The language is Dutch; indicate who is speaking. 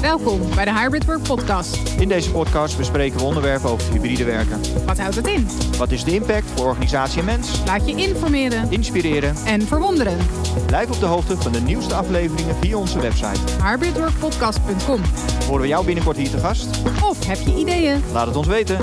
Speaker 1: Welkom bij de Hybrid Work Podcast.
Speaker 2: In deze podcast bespreken we onderwerpen over het hybride werken.
Speaker 1: Wat houdt het in?
Speaker 2: Wat is de impact voor organisatie en mens?
Speaker 1: Laat je informeren
Speaker 2: Inspireren.
Speaker 1: en verwonderen.
Speaker 2: Blijf op de hoogte van de nieuwste afleveringen via onze website.
Speaker 1: Hybridworkpodcast.com.
Speaker 2: Horen we jou binnenkort hier te gast?
Speaker 1: Of heb je ideeën?
Speaker 2: Laat het ons weten.